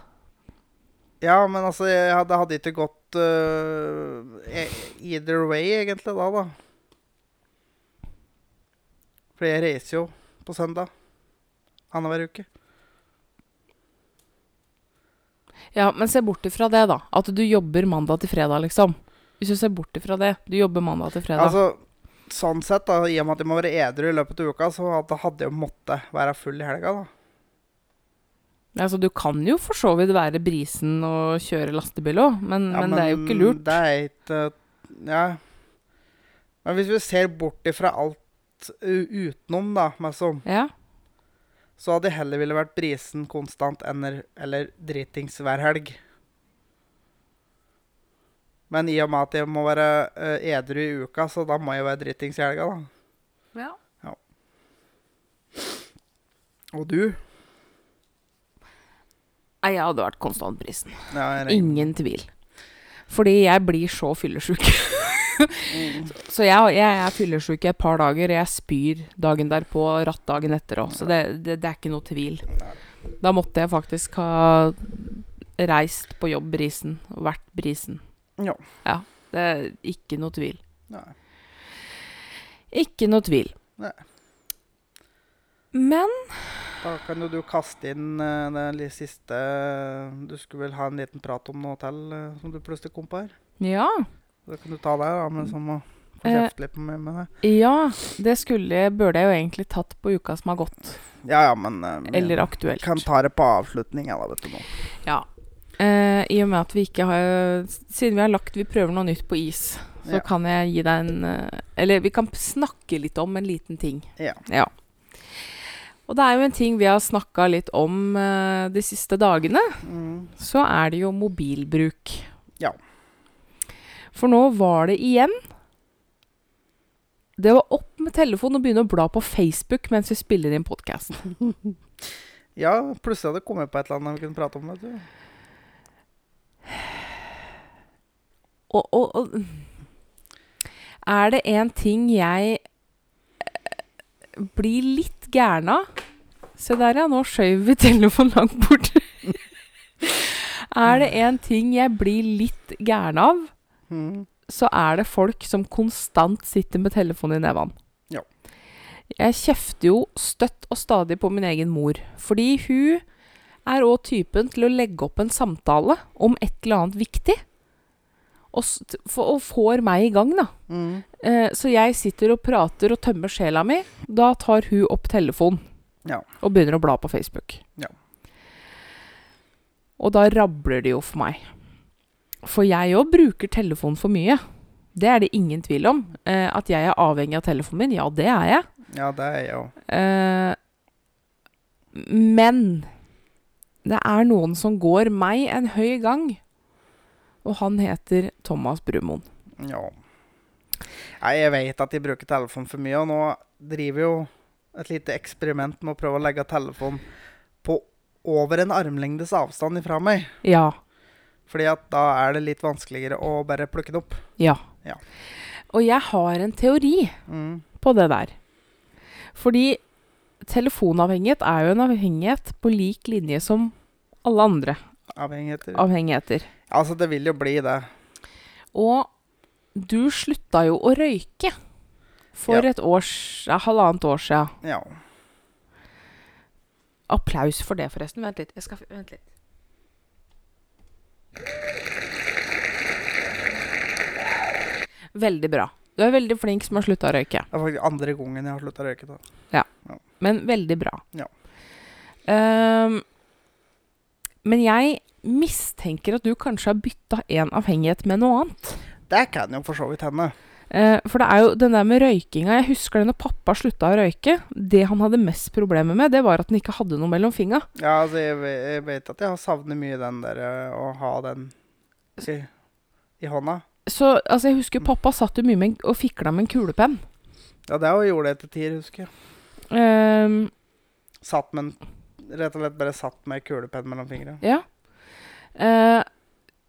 S1: Ja, men altså, jeg hadde, det hadde ikke gått øh, e- either way, egentlig, da, da. For jeg reiser jo på søndag. Annenhver uke.
S2: Ja, men se bort ifra det, da. At du jobber mandag til fredag, liksom. Hvis du ser bort ifra det. Du jobber mandag til fredag.
S1: Altså, sånn sett, da, i og med at jeg må være edru i løpet av uka, så hadde- hadde jeg jo måttet være full i helga, da.
S2: altså, du kan jo for så vidt være brisen og kjøre lastebil òg, men,
S1: Ja,
S2: Mm, men, det er jo ikke lurt.
S1: Det er ikke Ja. Men hvis vi ser bort ifra alt u- utenom, da, liksom,
S2: Ja.
S1: så hadde jeg heller ville vært brisen konstant enn, eller dritings hver helg. Men i og med at jeg må være eh, edru i uka, så da må jeg være dritings i helga, da.
S2: ja.
S1: Og du?
S2: Nei, jeg hadde vært konstant brisen.
S1: Ja, jeg regner.
S2: Ingen tvil. Fordi jeg blir så fyllesyk. så jeg, jeg er fyllesyk i et par dager, og jeg spyr dagen derpå og ratt dagen etter òg. Så det, det, det er ikke noe tvil. Da måtte jeg faktisk ha reist på jobb brisen, og vært brisen.
S1: Ja.
S2: Det er ikke noe tvil.
S1: Nei.
S2: Ikke noe tvil.
S1: Nei.
S2: Men
S1: Da kan jo du kaste inn eh, den li- siste eh, Du skulle vel ha en liten prat om noe til eh, som du plutselig kom på her?
S2: Ja.
S1: Da kan du ta det, da, men så må få
S2: Mm. Eh.
S1: kjefte litt på meg med det.
S2: Ja, det skulle, burde jeg jo egentlig tatt på uka som har gått.
S1: Ja, ja, men eh, vi
S2: Eller aktuelt.
S1: kan ta det på avslutninga, da, vet du. nå.
S2: Ja. Eh, I og med at vi ikke har Siden vi har lagt Vi prøver noe nytt på is, så
S1: Ja.
S2: kan jeg gi deg en eh, Eller vi kan snakke litt om en liten ting.
S1: Ja.
S2: Og det er jo en ting vi har snakka litt om eh, de siste dagene.
S1: Mm.
S2: Så er det jo mobilbruk.
S1: Ja.
S2: For nå var det igjen Det var opp med telefonen og begynne å bla på Facebook mens vi spiller inn podkast.
S1: Ja, plutselig hadde det kommet på et eller annet vi kunne prate om. vet du.
S2: og, og, og Er det en ting jeg eh, blir litt gæren av Se der, ja. Nå skjøv vi telefonen langt bort. er det en ting jeg blir litt gæren av,
S1: Mm.
S2: så er det folk som konstant sitter med telefonen i nevene.
S1: Ja.
S2: Jeg kjefter jo støtt og stadig på min egen mor, fordi hun er òg typen til å legge opp en samtale om et eller annet viktig, og, s- for, og får meg i gang, da.
S1: Mm.
S2: Eh, så jeg sitter og prater og tømmer sjela mi. Da tar hun opp telefonen
S1: Ja.
S2: og begynner å bla på Facebook.
S1: Ja.
S2: Og da rabler det jo for meg. For jeg òg bruker telefonen for mye. Det er det ingen tvil om. Eh, at jeg er avhengig av telefonen min, ja, det er jeg.
S1: Ja, det er jeg òg.
S2: Eh, men det er noen som går meg en høy gang, og han heter Thomas Brumoen.
S1: Ja. Nei, jeg vet at de bruker telefon for mye, og nå driver jo et lite eksperiment med å prøve å legge telefonen på over en armlengdes avstand ifra meg.
S2: Ja.
S1: Fordi at da er det litt vanskeligere å bare plukke det opp.
S2: Ja.
S1: Ja.
S2: Og jeg har en teori
S1: Mm.
S2: på det der. Fordi telefonavhengighet er jo en avhengighet på lik linje som alle andre
S1: Avhengigheter.
S2: avhengigheter.
S1: Altså, det vil jo bli det.
S2: Og du slutta jo å røyke
S1: Ja.
S2: for et års, ja, halvannet år sia.
S1: Ja.
S2: Applaus for det, forresten. Vent litt. Jeg skal, vent litt. Veldig bra. Du er veldig flink som har slutta å røyke.
S1: Det er faktisk andre gangen jeg har slutta å røyke. da.
S2: Men veldig bra.
S1: Ja.
S2: Ehm, men jeg mistenker at du kanskje har bytta en avhengighet med noe annet.
S1: Det kan jo for så vidt hende.
S2: Eh, for det er jo den der med røykinga Jeg husker det når pappa slutta å røyke. Det han hadde mest problemer med, det var at han ikke hadde noe mellom fingra.
S1: Ja, altså, jeg, ve- jeg vet at jeg har savnet mye den der eh, å ha den i, i hånda.
S2: Så altså, jeg husker pappa satt jo mye med, en- og fikla med en kulepenn.
S1: Ja, det har jeg gjort etter tider, husker jeg.
S2: Ehm,
S1: Satt med en, rett og slett bare satt med kulepenn mellom fingrene.
S2: ja. Eh,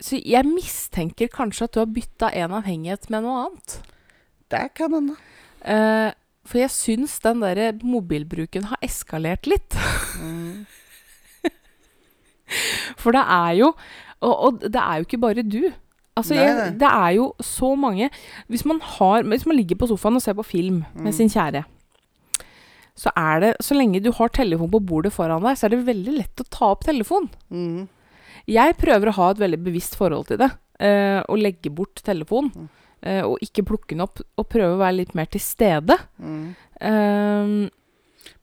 S2: så jeg mistenker kanskje at du har bytta en avhengighet med noe annet.
S1: Det kan hende.
S2: Eh, for jeg syns den der mobilbruken har eskalert litt.
S1: Mm.
S2: For det er jo Og, og det er jo ikke bare du. Altså,
S1: Nei,
S2: jeg,
S1: nei.
S2: det er jo så mange hvis man, har, hvis man ligger på sofaen og ser på film
S1: Mm.
S2: med sin kjære, så er det Så lenge du har telefonen på bordet foran deg, så er det veldig lett å ta opp telefonen.
S1: Mm.
S2: Jeg prøver å ha et veldig bevisst forhold til det. eh, Å legge bort telefonen.
S1: Mm.
S2: eh, og ikke plukke den opp. Og prøve å være litt mer til stede.
S1: Mm.
S2: Eh,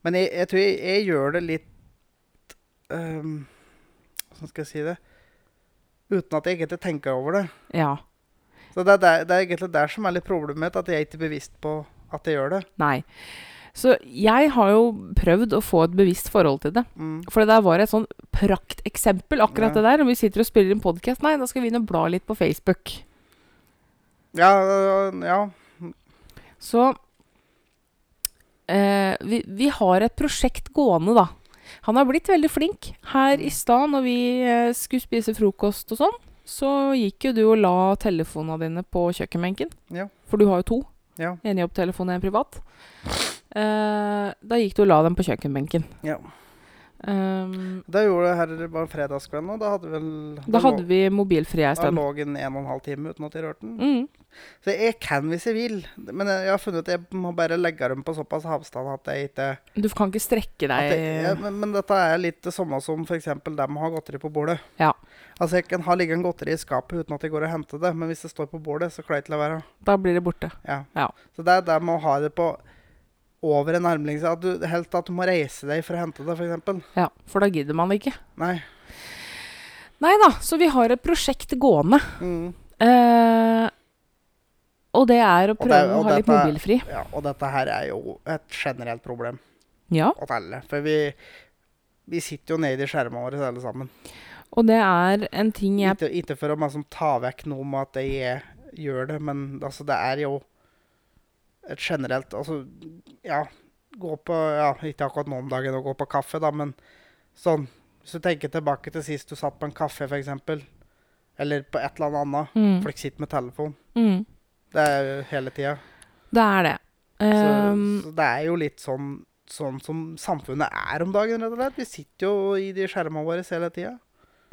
S1: Men jeg, jeg tror jeg, jeg gjør det litt ehm, Hvordan skal jeg si det? Uten at jeg egentlig tenker over det.
S2: ja.
S1: Så det er, der, det er egentlig der som er litt problemet mitt, at jeg er ikke bevisst på at jeg gjør det.
S2: Nei. Så jeg har jo prøvd å få et bevisst forhold til det.
S1: Mm.
S2: For det der var et sånn prakteksempel, akkurat
S1: Ja.
S2: det der. Om vi sitter og spiller en podkast, nei, da skal vi inn og bla litt på Facebook.
S1: Ja, øh, ja.
S2: Så eh, vi, vi har et prosjekt gående, da. Han har blitt veldig flink. Her i stad når vi eh, skulle spise frokost og sånn, så gikk jo du og la telefonene dine på kjøkkenbenken.
S1: Ja.
S2: For du har jo to.
S1: Ja.
S2: En jobbtelefon og en privat. Eh, da gikk du og la dem på kjøkkenbenken.
S1: Ja.
S2: Ehm,
S1: Det gjorde jeg her bare fredagskvelden, og da hadde vel
S2: da hadde vi mobilfri ei
S1: da
S2: stund.
S1: lå den en og en halv time uten at jeg rørte den.
S2: Mm.
S1: Så jeg kan hvis jeg vil, men jeg har funnet ut at jeg må bare legge dem på såpass avstand at jeg ikke
S2: Du kan ikke strekke
S1: at jeg, ja,
S2: deg
S1: men, men dette er litt det samme som f.eks. dem har godteri på bordet.
S2: Ja.
S1: Altså, jeg kan ha liggende godteri i skapet uten at jeg går og henter det, men hvis det står på bordet, så klarer jeg ikke la være.
S2: Da blir det borte.
S1: Ja.
S2: Ja.
S1: Så det er det med å ha det på over en armlengde at du, Helt at du må reise deg for å hente det, f.eks.
S2: Ja, For da gidder man ikke.
S1: Nei.
S2: Nei da, så vi har et prosjekt gående.
S1: Mm.
S2: Eh, og det er å
S1: det-
S2: prøve å
S1: og
S2: ha litt
S1: dette-
S2: mobilfri.
S1: Ja, og dette her er jo et generelt problem
S2: Ja.
S1: åt alle. For vi, vi sitter jo nede i skjermene våre alle sammen.
S2: Og det er en ting jeg
S1: Ikke, ikke for å liksom, ta vekk noe med at jeg gjør det, men altså, det er jo et generelt Altså, ja Gå på Ja, ikke akkurat nå om dagen å gå på kaffe, da, men sånn Hvis du tenker tilbake til sist du satt på en kaffe, f.eks., eller på et eller annet annet
S2: mm,
S1: Folk sitter med telefon.
S2: mm,
S1: Det er jo hele tida.
S2: Det er det.
S1: Så,
S2: Ehm,
S1: så det er jo litt sånn, sånn som samfunnet er om dagen, rett og slett. Vi sitter jo i de skjermene våre hele tida.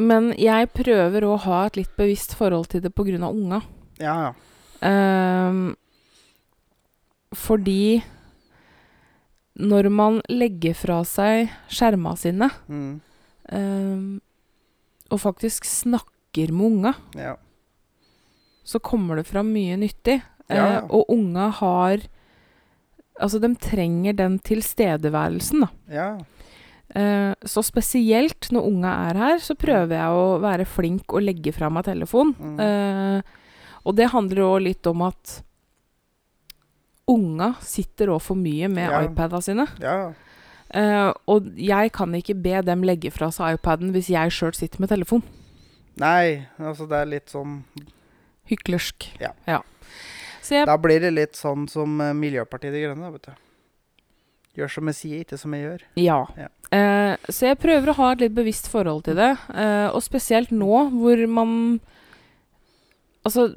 S2: men jeg prøver å ha et litt bevisst forhold til det pga. unga.
S1: Ja, ja.
S2: Ehm, fordi når man legger fra seg skjerma sine,
S1: Mm,
S2: ehm, og faktisk snakker med unga,
S1: ja.
S2: så kommer det fram mye nyttig. Eh,
S1: Ja, ja.
S2: og unga har Altså, de trenger den tilstedeværelsen, da.
S1: ja.
S2: Eh, så spesielt når unga er her, så prøver jeg å være flink og legge fra meg telefon.
S1: Mm.
S2: Eh, og det handler òg litt om at unga sitter òg for mye med
S1: Ja.
S2: iPada sine.
S1: ja.
S2: Eh, og jeg kan ikke be dem legge fra seg iPaden hvis jeg sjøl sitter med telefon.
S1: Nei, altså det er litt sånn
S2: Hyklersk.
S1: Ja.
S2: Så jeg
S1: Da blir det litt sånn som eh, Miljøpartiet De Grønne, vet du. Gjør som jeg sier, ikke som jeg gjør.
S2: Ja.
S1: Ja.
S2: Eh, så jeg prøver å ha et litt bevisst forhold til det. Eh, og spesielt nå hvor man Altså,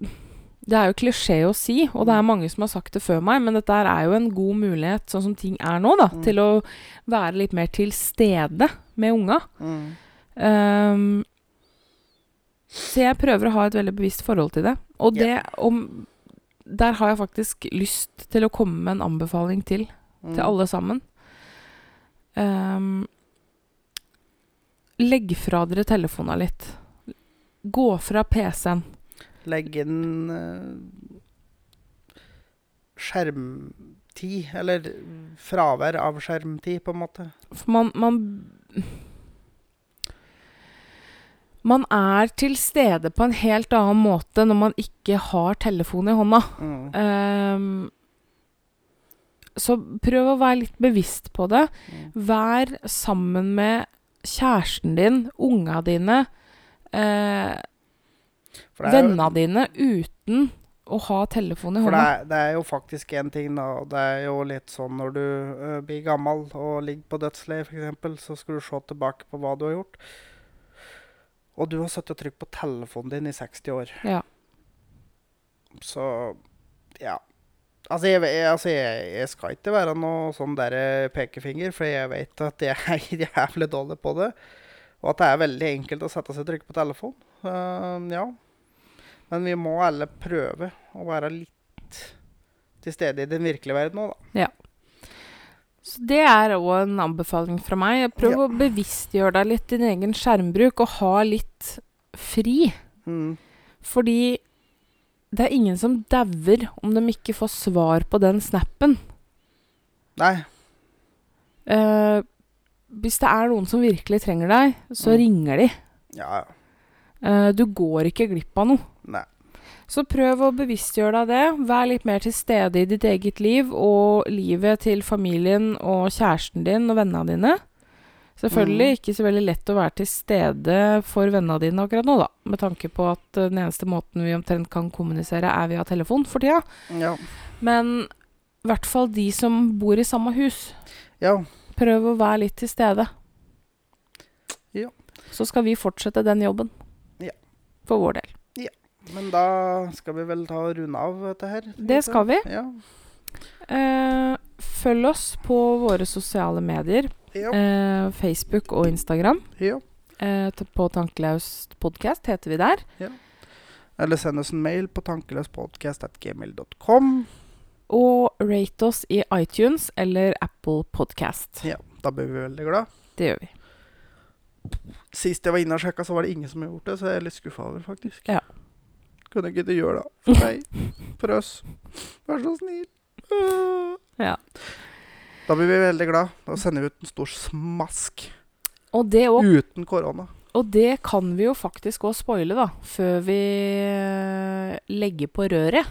S2: det er jo klisjé å si,
S1: Mm.
S2: og det er mange som har sagt det før meg, men dette her er jo en god mulighet, sånn som ting er nå, da,
S1: Mm.
S2: til å være litt mer til stede med unga.
S1: Mm.
S2: Ehm, så jeg prøver å ha et veldig bevisst forhold til det. Og det om Der har jeg faktisk lyst til å komme med en anbefaling til
S1: Mm.
S2: til alle sammen. Ehm, legg fra dere telefona litt. Gå fra PC-en.
S1: Legg inn eh, skjermtid, eller fravær av skjermtid, på en måte.
S2: For man, man Man er til stede på en helt annen måte når man ikke har telefon i hånda.
S1: Mm.
S2: Ehm, så prøv å være litt bevisst på det.
S1: Mm.
S2: Vær sammen med kjæresten din, unga dine. Eh,
S1: For det er jo-
S2: vennene dine uten å ha telefon i
S1: For det
S2: hånda.
S1: er, det er jo faktisk én ting, da. og Det er jo litt sånn når du ø, blir gammel og ligger på dødsleiet, f.eks., så skal du se tilbake på hva du har gjort. Og du har sittet og trykt på telefonen din i 60 år.
S2: Ja.
S1: Så ja. Altså, jeg, jeg, altså jeg, jeg skal ikke være noe sånn der eh, pekefinger, for jeg vet at jeg er jævlig dårlig på det. Og at det er veldig enkelt å sette seg og trykke på telefon. Ehm, ja. Men vi må alle prøve å være litt til stede i den virkelige verden òg, da.
S2: Så det er òg en anbefaling fra meg. Prøv å bevisstgjøre deg litt din egen skjermbruk, og ha litt fri.
S1: Mm.
S2: Fordi det er ingen som dauer om de ikke får svar på den snappen.
S1: Nei.
S2: Eh, hvis det er noen som virkelig trenger deg, så
S1: Mm.
S2: ringer de.
S1: Ja, ja.
S2: Eh, du går ikke glipp av noe.
S1: Nei.
S2: Så prøv å bevisstgjøre deg det. Vær litt mer til stede i ditt eget liv og livet til familien og kjæresten din og vennene dine. Selvfølgelig
S1: Mm.
S2: ikke så veldig lett å være til stede for vennene dine akkurat nå, da. Med tanke på at eh, den eneste måten vi omtrent kan kommunisere, er via telefon for tida.
S1: Ja.
S2: Men i hvert fall de som bor i samme hus.
S1: ja.
S2: Prøv å være litt til stede.
S1: Ja.
S2: Så skal vi fortsette den jobben.
S1: Ja.
S2: For vår del.
S1: Men da skal vi vel ta og runde av dette her?
S2: Det skal vi.
S1: Ja.
S2: Eh, følg oss på våre sosiale medier.
S1: Ja.
S2: Eh, Facebook og Instagram.
S1: ja.
S2: Eh, t- på Tankelaust podkast heter vi der.
S1: Eller send oss en mail på tankeløspodcast.gmail.com.
S2: Og rate oss i iTunes eller Apple Podcast.
S1: Ja, da blir vi veldig glad.
S2: Det gjør vi.
S1: Sist jeg var inne og sjekka, så var det ingen som hadde gjort det, så jeg er litt skuffa over, faktisk.
S2: Ja.
S1: Kunne ikke du gjøre det for meg? For oss? Vær så snill.
S2: Ja.
S1: Da blir vi veldig glad. Da sender vi ut en stor smask.
S2: Og det, og,
S1: Uten korona.
S2: og det kan vi jo faktisk òg spoile, da. Før vi eh, legger på røret.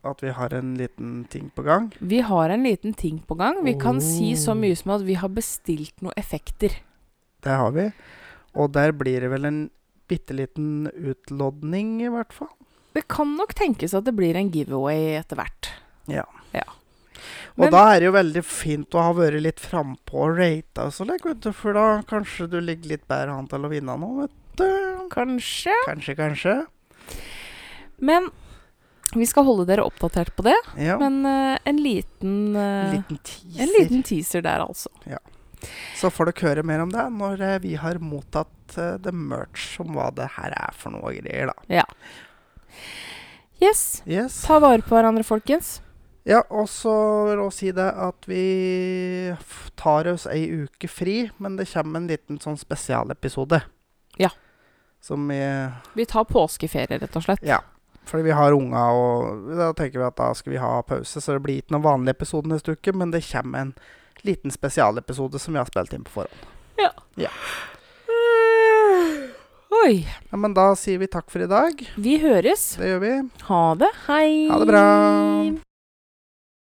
S1: At vi har en liten ting på gang.
S2: Vi har en liten ting på gang. Vi kan si så
S1: Oh.
S2: mye som at vi har bestilt noen effekter.
S1: Det har vi. Og der blir det vel en bitte liten utlodning, i hvert fall.
S2: Det kan nok tenkes at det blir en giveaway etter hvert.
S1: Ja.
S2: Ja.
S1: Og
S2: Men-
S1: da er det jo veldig fint å ha vært litt frampå og rata og sånn, vet du, for da kanskje du ligger litt bedre an til å vinne nå, vet du.
S2: Kanskje.
S1: Kanskje, kanskje.
S2: Men vi skal holde dere oppdatert på det.
S1: Ja.
S2: Men eh, en liten
S1: En
S2: eh,
S1: liten
S2: En
S1: teaser.
S2: liten teaser der, altså.
S1: Så får dere høre mer om det når eh, vi har mottatt eh, the merch om hva det her er for noe greier, da.
S2: Yes.
S1: Yes.
S2: Ta vare på hverandre, folkens.
S1: Ja, og så vil jeg også si det at vi f- tar oss ei uke fri, men det kommer en liten sånn spesialepisode.
S2: Ja.
S1: Som vi
S2: Vi tar påskeferie, rett og slett.
S1: Ja. Fordi vi har unga, og da tenker vi at da skal vi ha pause. Så det blir ikke noen vanlig episode neste uke, men det kommer en liten spesialepisode som vi har spilt inn på forhånd.
S2: Oi.
S1: Ja, men da sier vi takk for i dag.
S2: Vi høres.
S1: Det gjør vi.
S2: Ha det. Hei.
S1: Ha det bra.